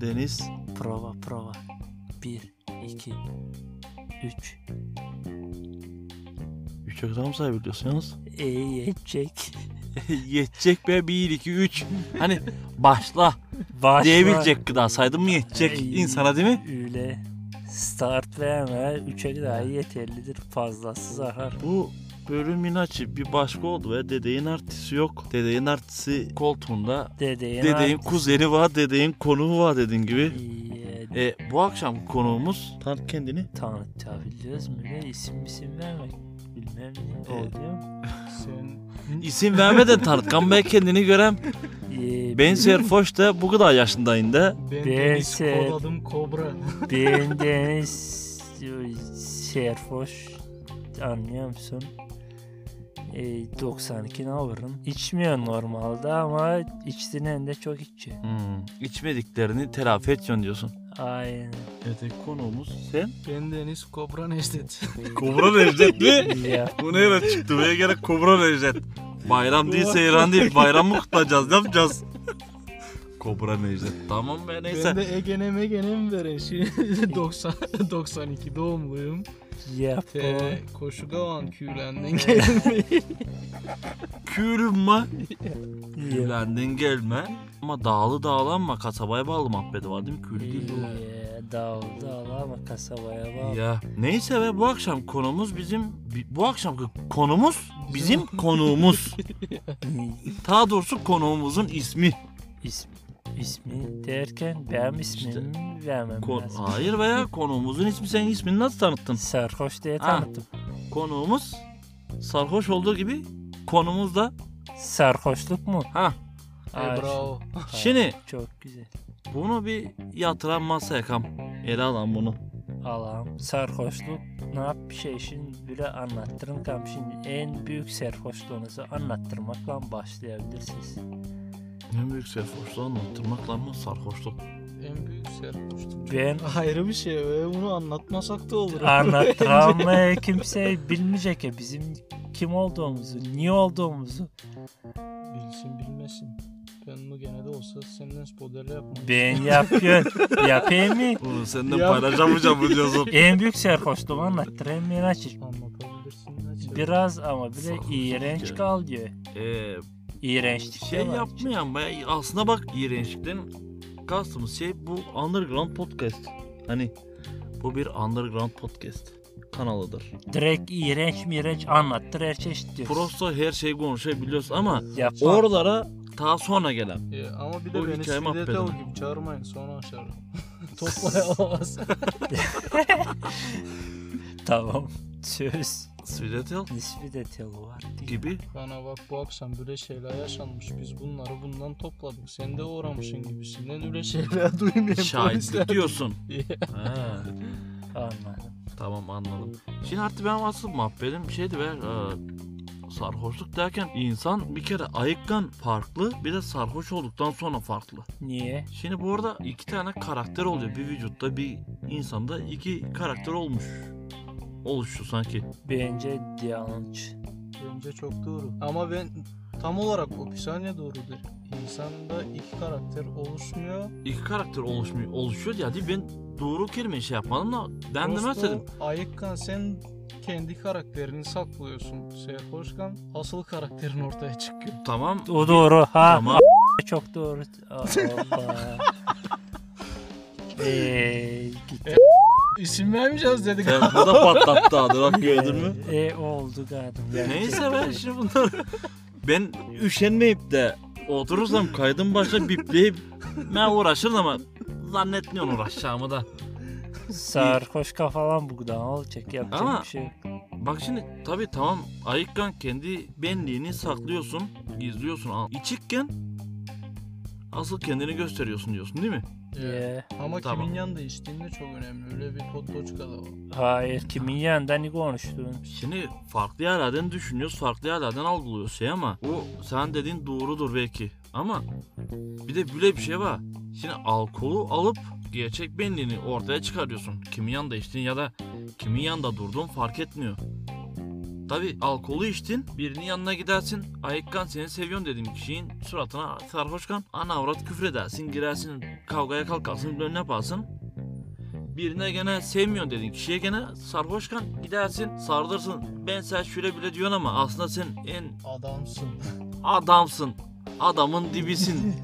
Deniz. Prova prova. 1, 2, 3. 3 adam sayabiliyorsun yalnız. E yetecek. yetecek be 1 2 3. Hani başla Başla. diyebilecek gıda saydın mı yetecek Ey, insana değil mi? Öyle. Start verme. 3'e kadar yeterlidir. Fazlası zarar. Bu bölümün açı bir başka oldu ve dedeğin artısı yok. Dedeğin artısı koltuğunda Dedeğin dedeğin artık- kuzeni var, dedeğin konuğu var dediğin gibi. İyi, E, bu akşam konuğumuz tanıt kendini. tanıtabiliyoruz mu? Ne isim isim vermek bilmem ne Ee, oluyor mu? Sen İsim vermeden tanıt. Kan ben kendini görem. Ee, Ben Serfoş da bu kadar yaşındayım da. ben Ben Deniz Ser- kod adım Kobra. ben Deniz Serfoş anlıyor musun? Ee, 92 ne alırım? İçmiyor normalde ama içtiğinden de çok içiyor. Hmm, içmediklerini telafi ediyorsun diyorsun. Aynen. Evet konuğumuz sen. ben Deniz Kobra Necdet. Kobra Necdet mi? ya, Bu nereye çıktı? Buraya gerek Kobra Necdet. Bayram değil seyran değil. Bayram mı kutlayacağız? Ne yapacağız? Kobra Necdet. Tamam be ben neyse. de Egenem Egenem veren şey. 90 92 doğumluyum. yap. T Koşugavan Kürlen'den geldim. Kürüm mü? Yap. Kürlendin gelme. Ama dağlı dağlanma. Kasabaya bağlı muhabbeti var değil mi? Kül değil bu. Ee, Dağıldı Allah ama kasabaya bağlı. Ya neyse ve bu akşam konumuz bizim bi- bu akşamki konumuz bizim konuğumuz. Daha doğrusu konuğumuzun ismi. İsmi, ismi derken benim ismimi vermem Kon lazım. Hayır veya konuğumuzun ismi senin ismini nasıl tanıttın? Sarhoş diye Ha. tanıttım. Konuğumuz sarhoş olduğu gibi konumuz da Sarhoşluk mu? ha Ay, Bravo. ha, şimdi Çok güzel. bunu bir yatıran masaya kam. Ele alan bunu. Allah'ım sarhoşluk ne yap bir şey şimdi böyle anlattırın kam şimdi en büyük sarhoşluğunuzu anlattırmakla başlayabilirsiniz. En büyük sarhoşluğu anlattırmakla mı sarhoşluk? En büyük serhoştum. Ben Ayrı bir şey ve bunu anlatmasak da olur. anlattıran mı kimse bilmeyecek ya bizim kim olduğumuzu, niye olduğumuzu. Bilsin bilmesin. Ben bunu gene de olsa senden spoiler yapmam. Ben yapıyorum. Yapayım mı? Bunu senden Ya. paylaşamayacağım mı diyorsun? En büyük sarhoşluğumu anlattırayım mı? Açık. Anlatabilirsin. Necdet. Biraz ama bile Sarhoşluk iğrenç yani. kal diyor. Ee, İğrençlik şey de var. yapmayan be. Aslında bak iğrençlikten kastımız şey bu underground podcast. Hani bu bir underground podcast kanalıdır. Direkt iğrenç miğrenç anlattır her şey çeşit diyor. Prosta her şeyi konuşabiliyoruz ama Yapma. oralara daha sonra gelen. Ya, E, ama bir O de beni hikaye sivilete mahvedin. o gibi çağırmayın sonra aşarım. Toplaya alamaz. Tamam. Söz. Svidetel Nisbi de telo var. Gibi. gibi Bana bak bu akşam böyle şeyler yaşanmış. Biz bunları bundan topladık. Sen de uğramışsın gibisinden öyle şeyler duymuyorum. şahitlik diyorsun. Ya. Ha, Anladım. tamam anladım. Şimdi artık ben asıl muhabbetim şeydi ve e, sarhoşluk derken insan bir kere ayıkkan farklı bir de sarhoş olduktan sonra farklı. Niye? Şimdi bu arada iki tane karakter oluyor. Bir vücutta bir insanda iki karakter olmuş. Oluştu sanki. Bence yanlış. Bence çok doğru. Ama ben tam olarak o pisane doğrudur. İnsanda iki karakter oluşmuyor. İki karakter oluşmuyor. Oluşuyor ya değil ben doğru kelime şey yapmadım da ben de Prosto mesela Ayıkkan sen kendi karakterini saklıyorsun. Serhoşkan asıl karakterin ortaya çıkıyor. tamam O doğru. Ha. Tamam. Çok doğru. Hoppa. Eee gitti. İsim vermeyeceğiz dedik. Sen e, bu da patlattı adı bak gördün mü? E oldu galiba. E, Neyse ben şimdi bunları ben üşenmeyip de oturursam kaydın başına bipleyip ben uğraşırım ama zannetmiyorum uğraşacağımı da. şey Sarhoş kafalan bu da olacak yapacak Ama- bir şey. yok. Bak şimdi tabi tamam ayıkken kendi benliğini saklıyorsun, gizliyorsun. Aa, İçikken asıl kendini gösteriyorsun diyorsun değil mi? Ye. Ama Tamam. kimin yanında içtiğin de çok önemli. Öyle bir potoçka da var. Hayır kimin yanında ne konuştun? Şimdi farklı yerlerden düşünüyoruz, farklı yerlerden algılıyoruz şey ama o sen dediğin doğrudur belki. Ama bir de böyle bir şey var. Şimdi alkolü alıp gerçek benliğini ortaya çıkarıyorsun. Kimin yanında içtin ya da kimin yanında durdun fark etmiyor. Tabi alkolü içtin birinin yanına gidersin ayıkkan seni seviyorum dediğim kişinin suratına sarhoşkan ana avrat küfür edersin girersin kavgaya kalkarsın önüne yaparsın. Birine gene sevmiyorsun dediğin kişiye gene sarhoşkan gidersin sarılırsın ben sen şöyle bile diyorsun ama aslında sen en Adamsın. adamsın adamın dibisin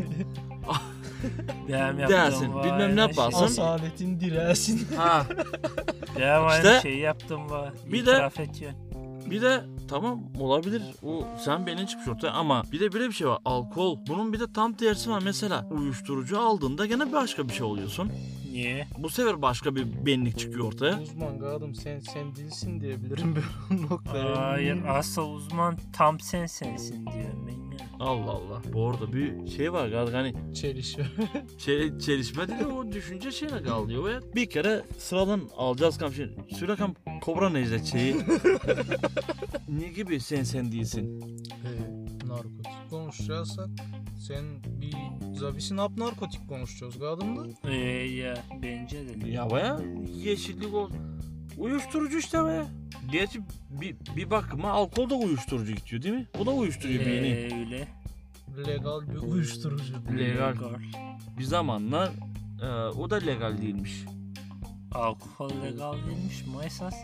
Devam Dersin, yaptım, bilmem vay, şey- ne yaparsın. Asıl- Asaletin dilersin. ha. Devam İşte- aynı şeyi yaptım var. Bir de- İtiraf ediyorsun. Bir de tamam olabilir. O sen benim çıkmış ortaya ama bir de böyle bir şey var. Alkol. Bunun bir de tam tersi var. Mesela uyuşturucu aldığında gene başka bir şey oluyorsun. Niye? Bu sefer başka bir benlik çıkıyor ortaya. Uzman gardım sen sen dilsin diyebilirim ben o noktaya. Hayır asıl uzman tam sen sensin diyorum ben ya. Allah Allah. Bu arada bir şey var galiba hani Çelişiyor. çe- çelişme değil de o düşünce şeyine kalıyor ve bir kere sıradan alacağız kam şimdi. Sürekam kobra nezle şeyi. ne gibi sen sen değilsin? Ee, narkotik konuşacaksak sen bir zabisin hap narkotik konuşacağız gardım da. Ee, ya bence de. Ya baya yeşillik ol. Uyuşturucu işte be. Gerçi bir, bir bakıma alkol da uyuşturucu gidiyor değil mi? Bu da uyuşturucu bir yeni. Ee, öyle. Legal bir uyuşturucu. Legal. Legal. Bir zamanlar e, o da legal değilmiş. Alkol legal değilmiş mi esas?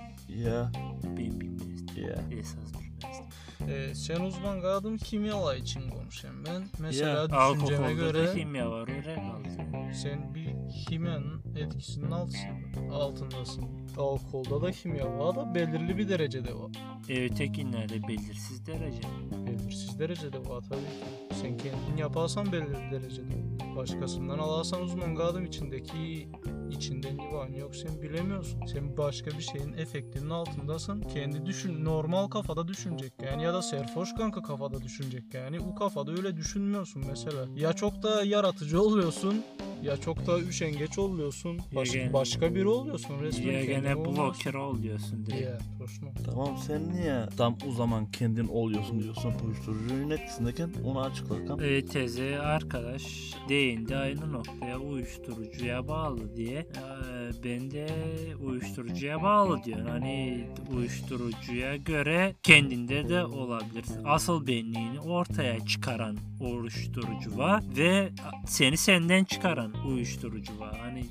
Ya. Ben bilmezdim. Ya. Esas bilmezdim. Ee, sen uzman gardım kimyalar için konuşayım ben. Mesela düşünceme Alkolde göre de kimya var o legal. sen bir kimyanın etkisinin altında, altındasın. Alkolda da kimya var da belirli bir derecede var. Ee, ötekinlerde belirsiz derece. Belirsiz derecede var tabii ki. Sen kendin yaparsan belirli derecede. Başkasından alarsan uzman gardım içindeki içinden divan yok sen bilemiyorsun. Sen başka bir şeyin efektinin altındasın. Kendi düşün normal kafada düşünecek yani ya da serfoş kanka kafada düşünecek yani. O kafada öyle düşünmüyorsun mesela. Ya çok da yaratıcı oluyorsun ya çok da üşengeç oluyorsun. Baş- Yegen- başka biri oluyorsun resmen. Ya kendin gene olmuyorsun. bloker ol diyorsun direkt. Ya hoşuma. Tamam sen niye tam o zaman kendin oluyorsun diyorsun uyuşturucunun etkisindeyken onu açıkla kam. E, teze arkadaş değindi aynı noktaya uyuşturucuya bağlı diye. E, ben de uyuşturucuya bağlı diyor. Hani uyuşturucuya göre kendinde de olabilir. Asıl benliğini ortaya çıkaran uyuşturucu var ve seni senden çıkaran uyuşturucu var. Hani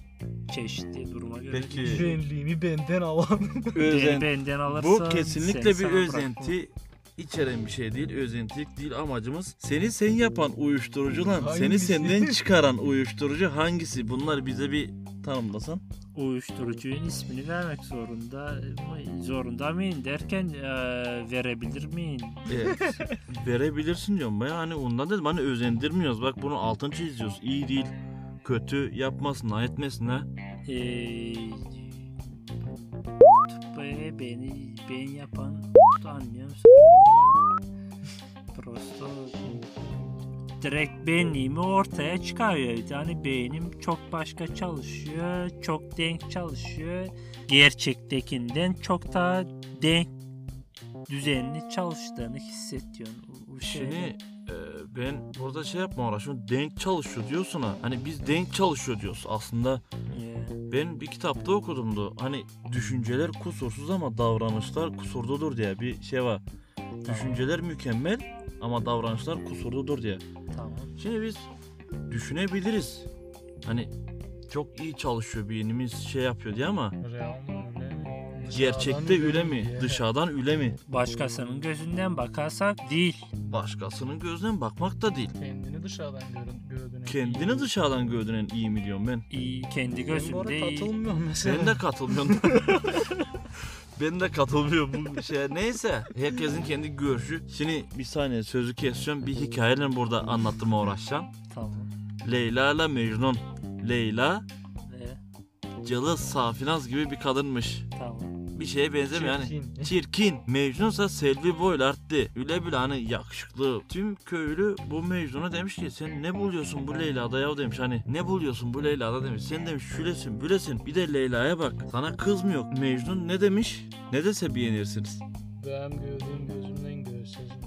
çeşitli duruma göre. Peki. değişiyor. Benliğimi benden alan. Beni benden alırsa Bu kesinlikle seni bir sana bırakmam. özenti içeren bir şey değil. Özentilik değil amacımız. Seni sen yapan uyuşturucu lan. Seni Hangisi? senden çıkaran uyuşturucu hangisi? Bunları bize bir tanımlasan. uyuşturucunun ismini vermek zorunda mı zorunda mıyım derken e, verebilir miyim? Evet. Verebilirsin diyorum. Ya hani ondan dedim hani özendirmiyoruz. Bak bunu altın çiziyoruz. İyi değil. Kötü yapmasın, ha, etmesin ha. E, be- beni ben yapan anlıyorum. Prosto direkt benliğimi ortaya çıkarıyor. Yani beynim çok başka çalışıyor, çok denk çalışıyor. Gerçektekinden çok daha denk düzenli çalıştığını hissediyorsun. Bu- bu Şey, şeyde. Şimdi e, ben burada şey yapma uğraşıyorum. Denk çalışıyor diyorsun ha. Hani biz denk çalışıyor diyoruz. Aslında Yeah. Ben bir kitapta okudumdu. Hani düşünceler kusursuz ama davranışlar kusurludur diye bir şey var. Düşünceler mükemmel ama davranışlar kusurludur diye. Tamam. Şimdi biz düşünebiliriz. Hani çok iyi çalışıyor beynimiz şey yapıyor diye ama Real mı öyle mi? gerçekte üle mi? Dışarıdan üle mi? Başkasının gözünden bakarsak değil. Başkasının gözünden bakmak da değil. Kendini dışarıdan görün, gördüğüne. Kendini dışarıdan gördüğüne iyi mi diyorum ben. İyi, kendi Ben bu arada gözünde iyi. katılmıyorum mesela. Ben de katılmıyorum. ben de katılmıyorum bu şeye. Neyse herkesin kendi görüşü. Şimdi bir saniye sözü kesiyorum. Bir hikayeyle burada anlatmaya uğraşacağım. Tamam. Leyla ile Mecnun. Leyla Ve cılız safinaz gibi bir kadınmış. tamam. Bir şeye benzemiyor yani. Çirkin. Çirkin. Mecnunsa Selvi boylu arttı. Üle bile hani yakışıklı. Tüm köylü bu Mecnun'a demiş ki sen ne buluyorsun bu Leyla'da ya demiş. Hani ne buluyorsun bu Leyla'da demiş. Sen demiş şülesin bülesin. Bir de Leyla'ya bak. Sana kız mı yok? Mecnun ne demiş? Ne dese beğenirsiniz. Ben gördüğüm gözümden görseydim.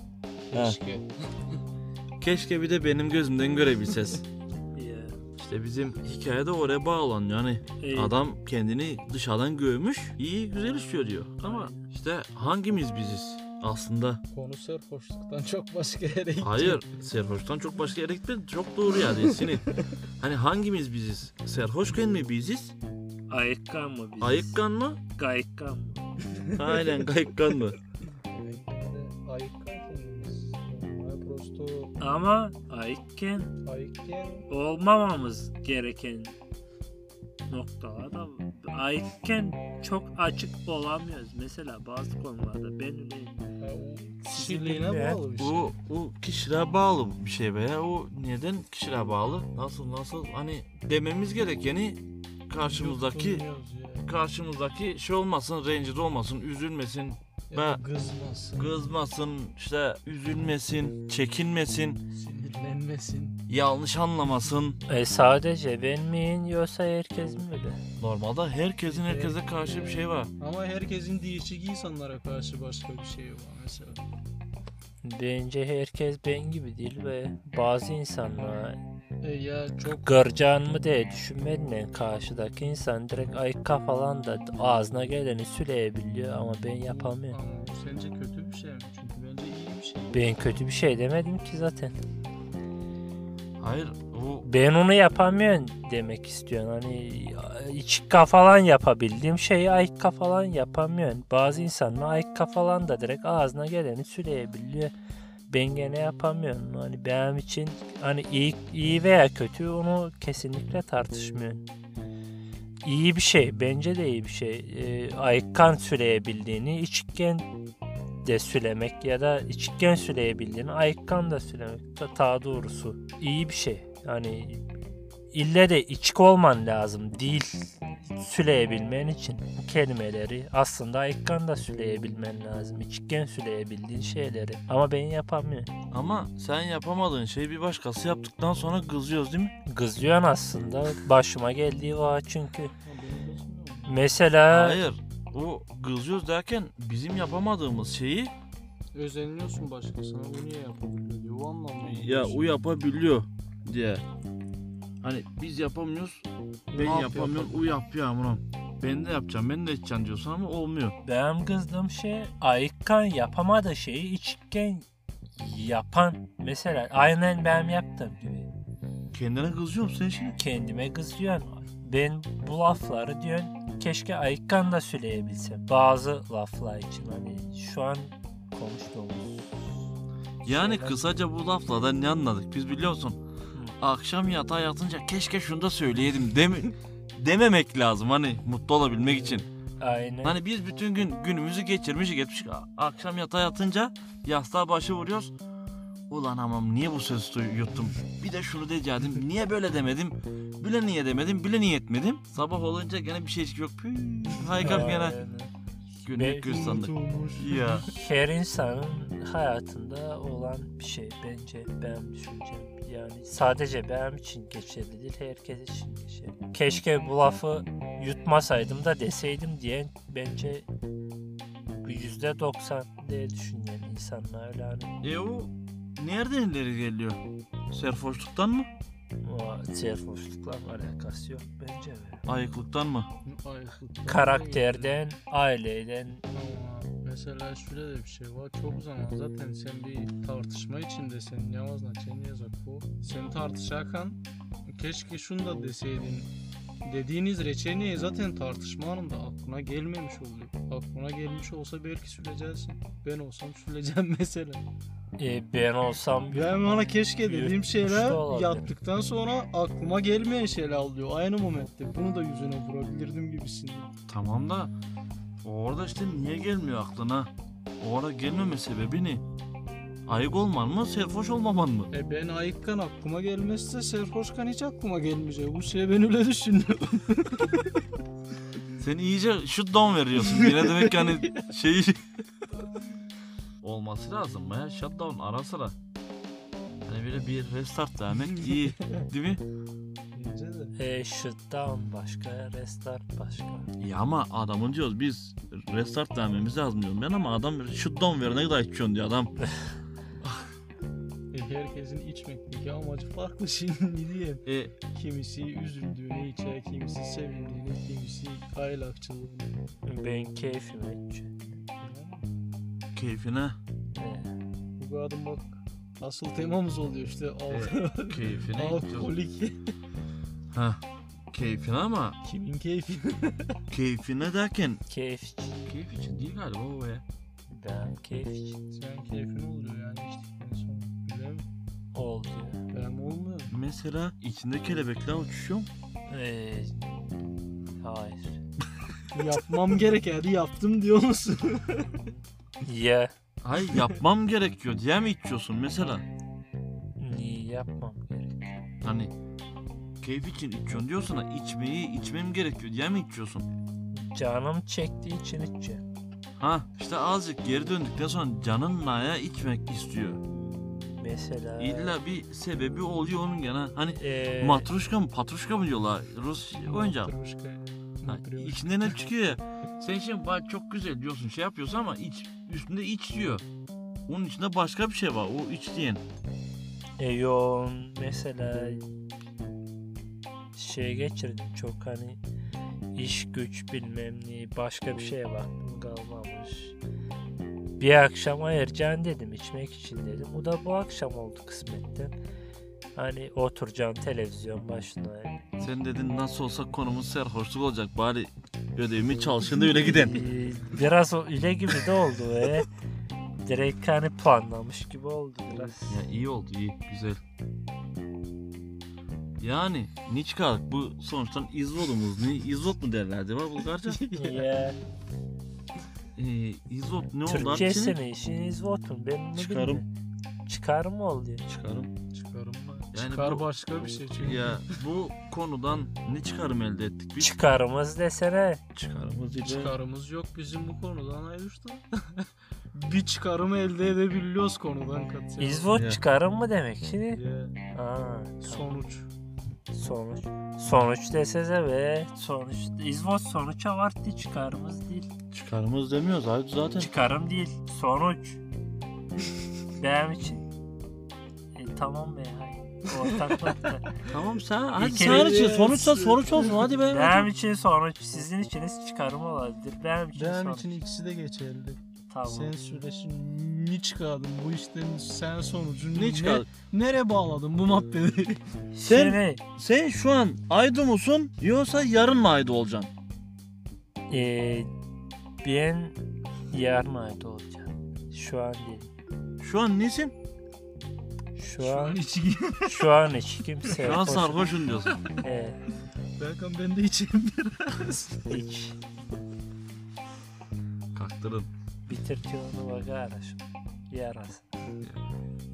Ha. Keşke. Keşke bir de benim gözümden görebilseniz. Ya. işte bizim hikayede oraya bağlanıyor. Hani Ee, adam kendini dışarıdan görmüş. iyi güzel istiyor diyor. Ama işte hangimiz biziz? Aslında Konu serhoşluktan çok başka yere gitti. hayır serhoştan çok başka yere gitmedi. Çok doğru yani sinir. hani hangimiz biziz? Serhoşken mi biziz? Ayıkkan mı biz? Ayıkkan mı? Gayıkkan mı? Aynen kayıkkan mı? Ayık kendimiz. Normal prosto Ama ayıkken ayıkken olmamamız gereken noktalar da var. ayıkken çok açık olamıyoruz. Mesela bazı konularda ben öyleyim. yani o Sizi kişiliğine bilmeyen- bağlı bir şey. Bu o kişilere bağlı bir şey be ya. O neden kişilere bağlı? Nasıl nasıl hani dememiz gerekeni karşımızdaki Tutulmuyoruz ya. karşımızdaki şey olmasın, rencide olmasın, üzülmesin, Ya da Ben- kızmasın, kızmasın, işte üzülmesin, çekinmesin, sinirlenmesin. yanlış anlamasın. E sadece ben miyim yoksa herkes mi öyle? Normalde herkesin herkese karşı bir şey var. Ama herkesin değişik insanlara karşı başka bir şey var mesela. Bence herkes ben gibi değil ve bazı insanlar E ya çok Gırcan mı diye düşünmeden karşıdaki insan direkt ayıkka falan da ağzına geleni süleyebiliyor ama ben yapamıyorum. Ama bu sence kötü bir şey mi? Çünkü bence iyi bir şey. Ben kötü bir şey demedim ki zaten. Hayır, bu Ben onu yapamıyorum demek istiyorsun. Hani içka falan yapabildiğim şeyi ayıkka falan yapamıyorsun. Bazı insanlar ayıkka falan da direkt ağzına geleni süleyebiliyor. Ben gene yapamıyorum. Hani benim için hani iyi, iyi veya kötü onu kesinlikle tartışmıyorum. İyi bir şey. Bence de iyi bir şey. Ee, ayıkkan süleyebildiğini içken de sülemek ya da içken süleyebildiğini ayıkkan da sülemek. Ta- Ta doğrusu iyi bir şey. Yani ille de içik olman lazım değil süleyebilmen için. Bu kelimeleri aslında ayıkkan da süleyebilmen lazım. İçikken süleyebildiğin şeyleri. Ama ben yapamıyorum. ama sen yapamadığın şeyi bir başkası yaptıktan sonra kızıyoruz değil mi? Kızıyorsun aslında. Başıma geldiği var çünkü. Ama benim gözümde o. Mesela Hayır. O kızıyoruz derken bizim yapamadığımız şeyi Özenliyorsun başkasına bu niye yapabiliyor diyor. O anlamda. ya o yapabiliyor diye. Hani biz yapamıyoruz, ben yapamıyorum, o yapıyor amına. Ben de yapacağım, ben de edeceğim diyorsun ama olmuyor. benim kızdığım şey ayıkkan yapamadığı şeyi içikken yapan. Mesela aynen benim yaptığım gibi. Kendine kızıyorum sen şimdi. kendime kızıyorsun. Ben bu lafları diyorsun keşke ayıkkan da söyleyebilsem. Bazı laflar için hani şu an konuştuğumuz. Yani şeyler- kısaca bu lafla da ne anladık biz biliyor musun? Akşam yatağa yatınca keşke şunu da söyleyelim deme, dememek lazım hani mutlu olabilmek için. Aynen. Hani biz bütün gün günümüzü geçirmişiz geçmiş. A- Akşam yatağa yatınca yastığa başı vuruyoruz. Ulan amam niye bu sözü duy- yuttum? Bir de şunu diyecektim. Niye böyle demedim? Bile niye demedim? Bile niye etmedim? Sabah olunca gene bir şey yok. Püy, Ee, Haykap gene Aynen. günlük göz sandık. Ya. Her insanın hayatında olan bir şey bence ben düşüncem. Yani sadece benim için geçerli değil, herkes için geçerli. Keşke bu lafı yutmasaydım da deseydim diye bence yüzde doksan diye düşünen insanlar öyle hani E o nereden ileri geliyor? Serfoşluktan mı? O serhoşlukla alakası yok bence. be. Ayıklıktan mı? Karakterden, aileden Ama Mesela şöyle de bir şey var. Çok zaman zaten sen bir tartışma içindesin. Ne vazna çeni yazak bu. Seni tartışakan keşke şunu da deseydin. Dediğiniz reçeneyi zaten tartışma anında aklına gelmemiş oluyor. Aklına gelmiş olsa belki süreceksin. Ben olsam süleceğim mesela. e, ben olsam Ben bana keşke dediğim Yürütmüş de şeyler olabilir. yaptıktan sonra aklıma gelmeyen şeyler oluyor. Aynı momentte bunu da yüzüne vurabilirdim gibisin. Tamam da orada işte niye gelmiyor aklına? Orada gelmeme sebebi ne? Ayık olman mı, serfoş olmaman mı? E ben ayıkkan aklıma gelmezse Serhoşkan hiç aklıma gelmeyecek. Bu şey ben öyle düşünüyorum. Sen iyice şut down veriyorsun. Yine demek yani şeyi... Olması lazım ya. Shutdown ara sıra. Hani böyle bir restart demek iyi. Değil mi? Bence de. e, shutdown başka, restart başka. Ya ama adamın diyoruz biz restart vermemiz lazım diyorum ben ama adam shutdown verene kadar içiyorsun diyor adam. E herkesin içmekteki amacı farklı şimdi diye. E, Kimisi üzüldüğünü içer, kimisi sevindiğini, kimisi aylakçılığını. Ben keyfime içiyorum. Yani Keyfine. Bu adım bak. Asıl temamız oluyor işte. Al- Keyfine. Alkolik. ha. Keyfine ama Kimin keyfi? keyfine derken Keyif. keyif için değil galiba o ya. Ben keyif Senin keyfin oluyor yani içtikten sonra. Bilmem. oldu. Ben olmuyor. Mesela içinde kelebekler uçuşuyor. Ee, hayır. Yapmam gerekiyordu yaptım diyor musun? Ya. Hayır yapmam gerekiyor diye mi içiyorsun mesela? Niye yapmam gerek? Hani keyif için içiyorsun diyorsun da içmeyi içmem gerekiyor diye mi içiyorsun? Canım çektiği için içeceğim. Ha işte azıcık geri döndükten sonra canın naya içmek istiyor. Mesela. İlla bir sebebi oluyor onun gene. Hani Ee, matruşka mı patruşka mı diyorlar Rus oyuncağı. Matruşka. Ha, Matruşka. içinden hep çıkıyor ya. Sen şimdi bak çok güzel diyorsun şey yapıyorsun ama iç, üstünde iç diyor. Onun içinde başka bir şey var o iç diyen. e, yoğun mesela şey geçirdim çok hani iş güç bilmem ne başka bir şeye baktım kalmamış. Bir akşam ayıracaksın dedim içmek için dedim. Bu da bu akşam oldu kısmetten. Hani oturacaksın televizyon başına. Sen dedin nasıl olsa konumuz serhoşluk olacak bari ödevimi çalışın da öyle giden. Ee, biraz o ile gibi de oldu ve direkt hani planlamış gibi oldu biraz. Ya iyi oldu iyi güzel. Yani Niçkalık bu sonuçtan İzot'umuz. Ne, İzot mu derlerdi var Bulgarca? Ya, ee, İzot ne oldu abi senin? Türkçesini işiniz votun. Ben ne Çıkarım. bileyim. Çıkarım oldu. ya. Çıkarım. Çıkarım mı? Yani Çıkar bu- başka bir şey çünkü. Ya bu konudan ne çıkarım elde ettik biz? Çıkarımız desene. Çıkarımız ile... Çıkarımız yok bizim bu konudan ayrıştı. bir çıkarımı elde edebiliyoruz konudan katı. İzvot Ya. çıkarım mı demek şimdi? Ya, Aa, Sonuç. sonuç. Sonuç desese ve sonuç. İzvot sonuç avarttı çıkarımız değil. Çıkarımız demiyoruz abi zaten. Çıkarım değil. Sonuç. Benim için. E, tamam be. hayır. Ortaklıkta. Tamam sen hadi İlk sen kere- için sonuçta sonuç olsun hadi be. Benim için sonuç. Sizin içiniz çıkarım olabilir. Benim için Benim sonuç. için ikisi de geçerli. Tamam. Sen süreçin ni çıkardın bu işten sen sonucun Ne çıkar? nereye bağladın bu muhabbeti? Sen- Şimdi, Sen şu an aydı musun yoksa yarın mı aydı olacaksın? e, ben yarın ayda olacağım. Şu an değil. Şu an nesin? Şu an içi şu an hiç kimse. Şu an hoş- sarhoşum diyorsun. E, Berkan ben de içeyim biraz. hiç Kaktırın. bitirtiyorunu bak araşım. Yarası.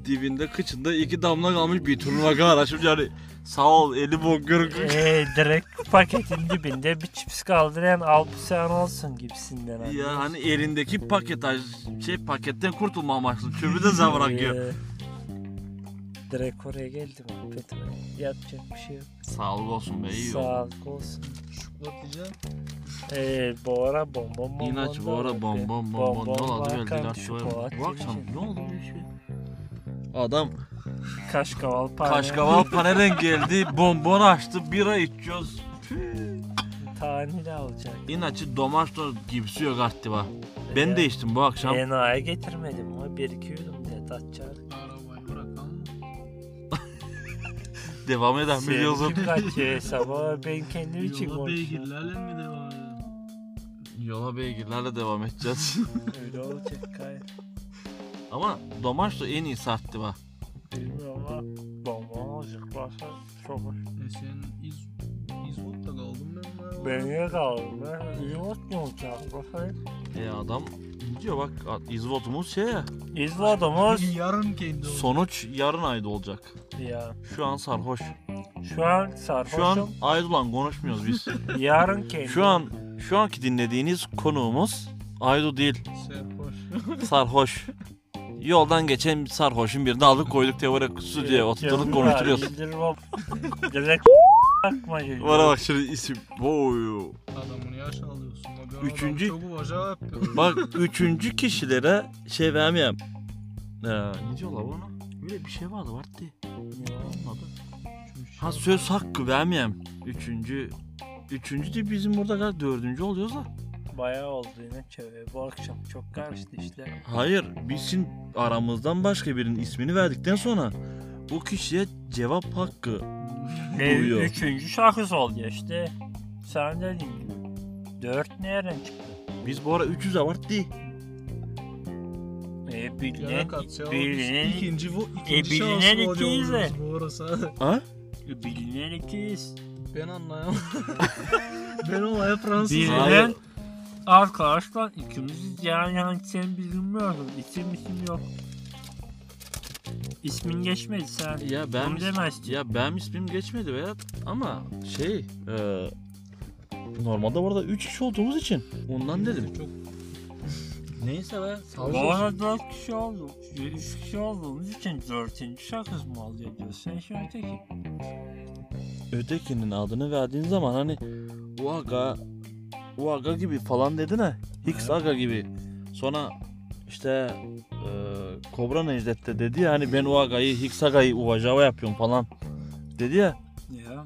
dibinde kıçında iki damla kalmış bir turnuva kadar şimdi yani sağ ol eli bok görgü. E, direkt paketin dibinde bir çips kaldıran alpüsen olsun gibisinden. hani. ya hani elindeki paket şey paketten kurtulma amaçlı çöpü de sen bırakıyor. E, direkt oraya geldim. Kötü. Yapacak bir şey yok. Sağlık olsun be iyi oldu. Sağlık olsun. Şuklatacağım. Ee, bu ara bonbon bonbon. İnaç bu ara bom bom bom bom ne oldu böyle ilaç var. Bu akşam ne oldu bu işe? Adam Kaşkaval para. Kaşkaval paneren geldi, bonbon açtı, bira içiyoruz. Taneli alacak. İnaçı domato gibisi yok artık var. Ben Ee, de içtim bu akşam. Enayi getirmedim ama bir iki yudum diye tatçar. Arabayı bırakalım. Devam eden biliyorsun. Kim kaçıyor hesaba ben kendim için Yola konuşuyorum. beygirlerle mi devam edelim? Yola beygirlerle devam edeceğiz. Öyle olacak kay. Ama domato en iyi sarttı var. Bilmiyorum ama bonbon olacak başka çok hoş. E sen iz, İzmut'ta kaldın ben bayağı. Ben niye kaldım ben? Yumurt mu olacak başka? E adam diyor bak a- izvotumuz şey ya, İzladığımız Yarım kendi oldu. sonuç yarın ayda olacak. ya. Şu an sarhoş. Şu an Şu an sarhoşum. Aydoğan konuşmuyoruz biz. Yarın kendim. Şu an şu anki dinlediğiniz konuğumuz Aydo değil, Serhoş. sarhoş. Yoldan geçen bir sarhoşun birini aldık koyduk teori stüdyoya oturttuk konuşturuyoruz. Direkt akma geliyor. Bana bak şimdi isim. Oy. Adamın yaş alıyorsun. Bak, ben Üçüncü- adamı Çok uvaca yapıyorum. Bak üçüncü kişilere şey vermeyeyim. Ee, ne diyorlar ona? Böyle bir şey vardı vardı. şey- Olmadı. Ha söz hakkı vermeyeyim. Üçüncü. Üçüncü de bizim burada kadar dördüncü oluyoruz da. bayağı oldu yine çevre bu akşam. Çok karıştı işler. Hayır, biz şimdi aramızdan başka birinin ismini verdikten sonra bu kişiye cevap hakkı. Ve Duyuyor. üçüncü şarkısı oldu ya işte. Sen dediğin gibi. Dört nereden çıktı? Biz bu ara 300 abart değil. E Yara bilinen, katacağım. bilinen, İkinci bu ikinci E, bilinen şansı oluyor ikiyiz de. bu orası. Ha? bilinen ikiyiz. Ben anlayamam. ben olaya Fransız. Bilinen Hayır. arkadaşlar ikimiziz yani yani sen bilmiyorum. İsim isim yok. İsmin geçmedi sen. Ya ben Onu demezsin. ya ben ismim geçmedi veya ama şey e, normalde orada 3 kişi olduğumuz için ondan dedim. Çok Neyse be. Bu arada dört kişi oldu. Üç kişi olduğumuz için dördüncü şarkısı mı oluyor diyor. Sen şimdi öteki. Ötekinin adını verdiğin zaman hani Uaga Uaga gibi falan dedin ha. Hicks Aga gibi. Sonra işte e, Kobra Necdet de dedi ya hani ben Uaga'yı Hicks Aga'yı Uajava yapıyorum falan dedi ya. Ya.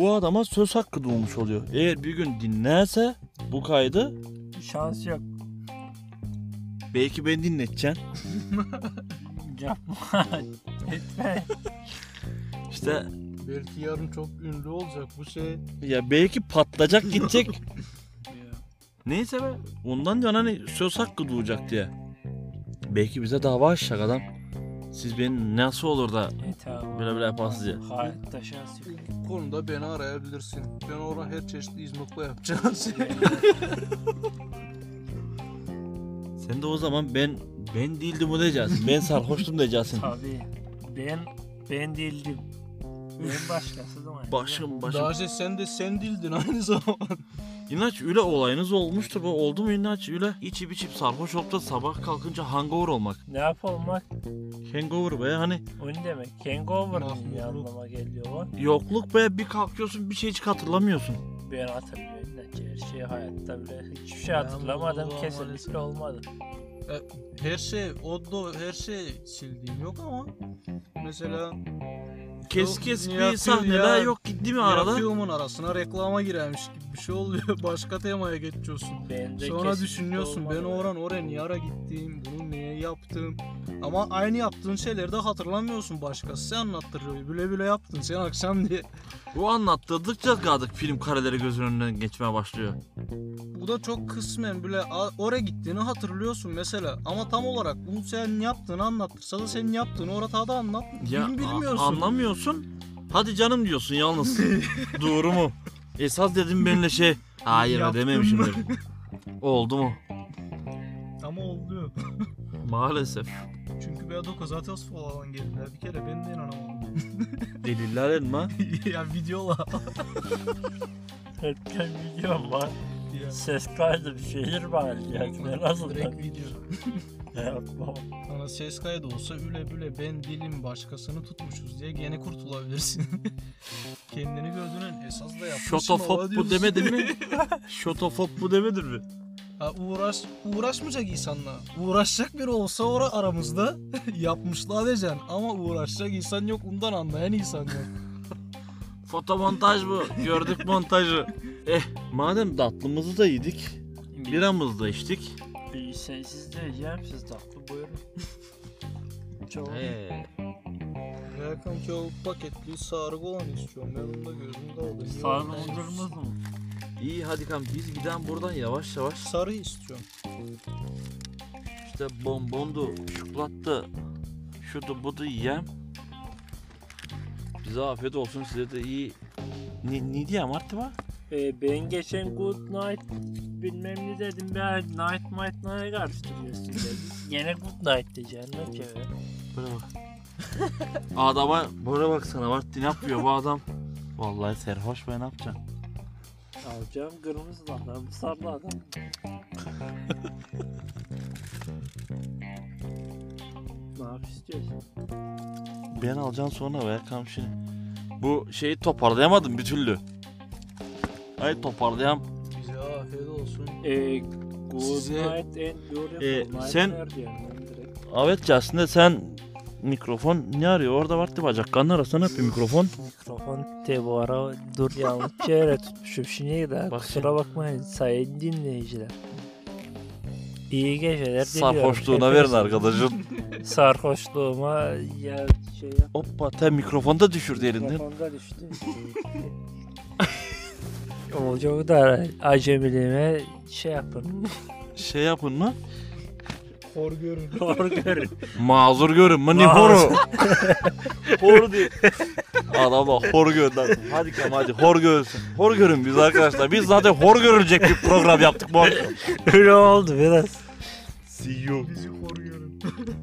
O adama söz hakkı doğmuş oluyor. Eğer bir gün dinlerse bu kaydı Şans yok. belki ben dinleteceğim. Yapma. Etme. İşte belki yarın çok ünlü olacak bu şey. ya belki patlayacak gidecek. Ya. Neyse be. Ondan diyor hani söz hakkı doğacak diye. Belki bize dava açacak adam. Siz beni nasıl olur da Evet abi. böyle böyle yaparsınız diye. Hayatta şans yok. Bu konuda beni arayabilirsin. Ben orada her çeşit izmokla yapacağım şey. Sen de o zaman ben ben değildim o diyeceksin. Ben sarhoştum diyeceksin. Tabii. Ben ben değildim. Ben başkası zaman. Başım başım. Daha önce sen de sen dildin aynı zamanda. İnaç üle olayınız olmuştur. Bu oldu mu İnaç üle? İçip içip sarhoş olup da sabah kalkınca hangover olmak. Ne yapılmak? Hangover be hani O ne demek? Hangover Mahmudluk. diye anlama geliyor bak. Yokluk be bir kalkıyorsun bir şey hiç hatırlamıyorsun. Ben hatırlıyorum da ki her şeyi hayatta bile hiçbir şey Ya, hatırlamadım. Allah'ım, Kesinlikle maalesef. olmadı. Her şey, oddo, her şey sildiğim yok ama. Mesela Kes Yok, kes bir yapıyor sahneler ya. yok gitti mi arada? arada? filmin arasına reklama girermiş gibi bir şey oluyor. Başka temaya geçiyorsun. Ben de Sonra kesinlikle düşünüyorsun ben olmadı. oran oraya niye ara gittim, bunu niye yaptım. Ama aynı yaptığın şeyleri de hatırlamıyorsun başkası anlattırıyor. Bile bile yaptın sen akşam diye. Bu anlattırdıkça gadık film kareleri gözünün önünden geçmeye başlıyor. Bu da çok kısmen bile a- oraya gittiğini hatırlıyorsun mesela. Ama tam olarak bunu sen yaptığını anlattırsa da senin yaptığını orada da anlat. Ya Film a- bilmiyorsun. anlamıyorsun. Hadi canım diyorsun yalnız. Doğru mu? Esas dedim benimle şey. Hayır be Yaptın dememişimdir. Oldu mu? Ama oluyor. Maalesef. Çünkü ben dokuzatıyoruz falan geldiler. Bir kere ben de inanamadım. Deliller elma. ya videola. Öpken biliyorum var. Ya. Ses kaydı bir şeyler var. Yani ben nasıl Direkt video. yapmam. Sana ses kaydı olsa üle büle ben dilim başkasını tutmuşuz diye gene kurtulabilirsin. Kendini gördüğünün esas da yapmışsın. Şotofop baba bu diyorsun. demedin mi? Şotofop bu demedin mi? Ha, uğraş, uğraşmayacak insanla. Uğraşacak biri olsa ora aramızda yapmışlar diyeceksin. Ama uğraşacak insan yok ondan anlayan insan yok. Fotomontaj bu. Gördük montajı. Eh madem tatlımızı da yedik. Biramızı da içtik. Bir şey sensiz de yiyeceğim siz tatlı buyurun. Çok. Ee, Ya kanka o paketli sargı olan istiyorum. Ben onu da gözümde aldım. Sarı dondurmaz mı? iyi hadi kan biz giden buradan yavaş yavaş Sarı istiyorum. işte bonbondu, şokolattı, şudu budu yiyem. Bize afiyet olsun size de iyi. Ne, ne diyeyim artık var? Ee, ben geçen Good Night bilmem ne dedim ben Night Might Night'a karıştırıyorsun dedim. Yine Good Night diyeceksin ne kere. Böyle bak. Adama böyle baksana var ne yapıyor bu adam? Vallahi serhoş be ne yapacaksın? Alacağım kırmızı adam, sarı adam. ne yap istiyorsun? Ben alacağım sonra be kamşini. Bu şeyi toparlayamadım bir türlü. Ay toparlayam. Bize afiyet olsun. Ee, good Size- Night and Beautiful Ee, Night sen- diyorum ben direkt. Evet aslında sen Mikrofon ne arıyor? Orada var bacak. Kanın arasına öp bir mikrofon. Mikrofon de bu ara dur yanlış yere tutmuşum şimdi kadar. Bak Kusura bakmayın sayın dinleyiciler. İyi geceler diliyorum. Sarhoşluğuna verin Hepiniz- arkadaşın. Sarhoşluğuma ya şey Hoppa te mikrofon da düşürdü elinden. Kafamda düştü. Olacağı da acemiliğime şey yapın. Şey yapın mı? Hor görün. Hor görün. Mazur görün mani Mazur. horu. horu diye. Adam da hor gör lan. Hadi Kem hadi hor görsün. Hor görün biz arkadaşlar. Biz zaten hor görülecek bir program yaptık bu akşam. Öyle oldu biraz. See you. Bizi hor görün.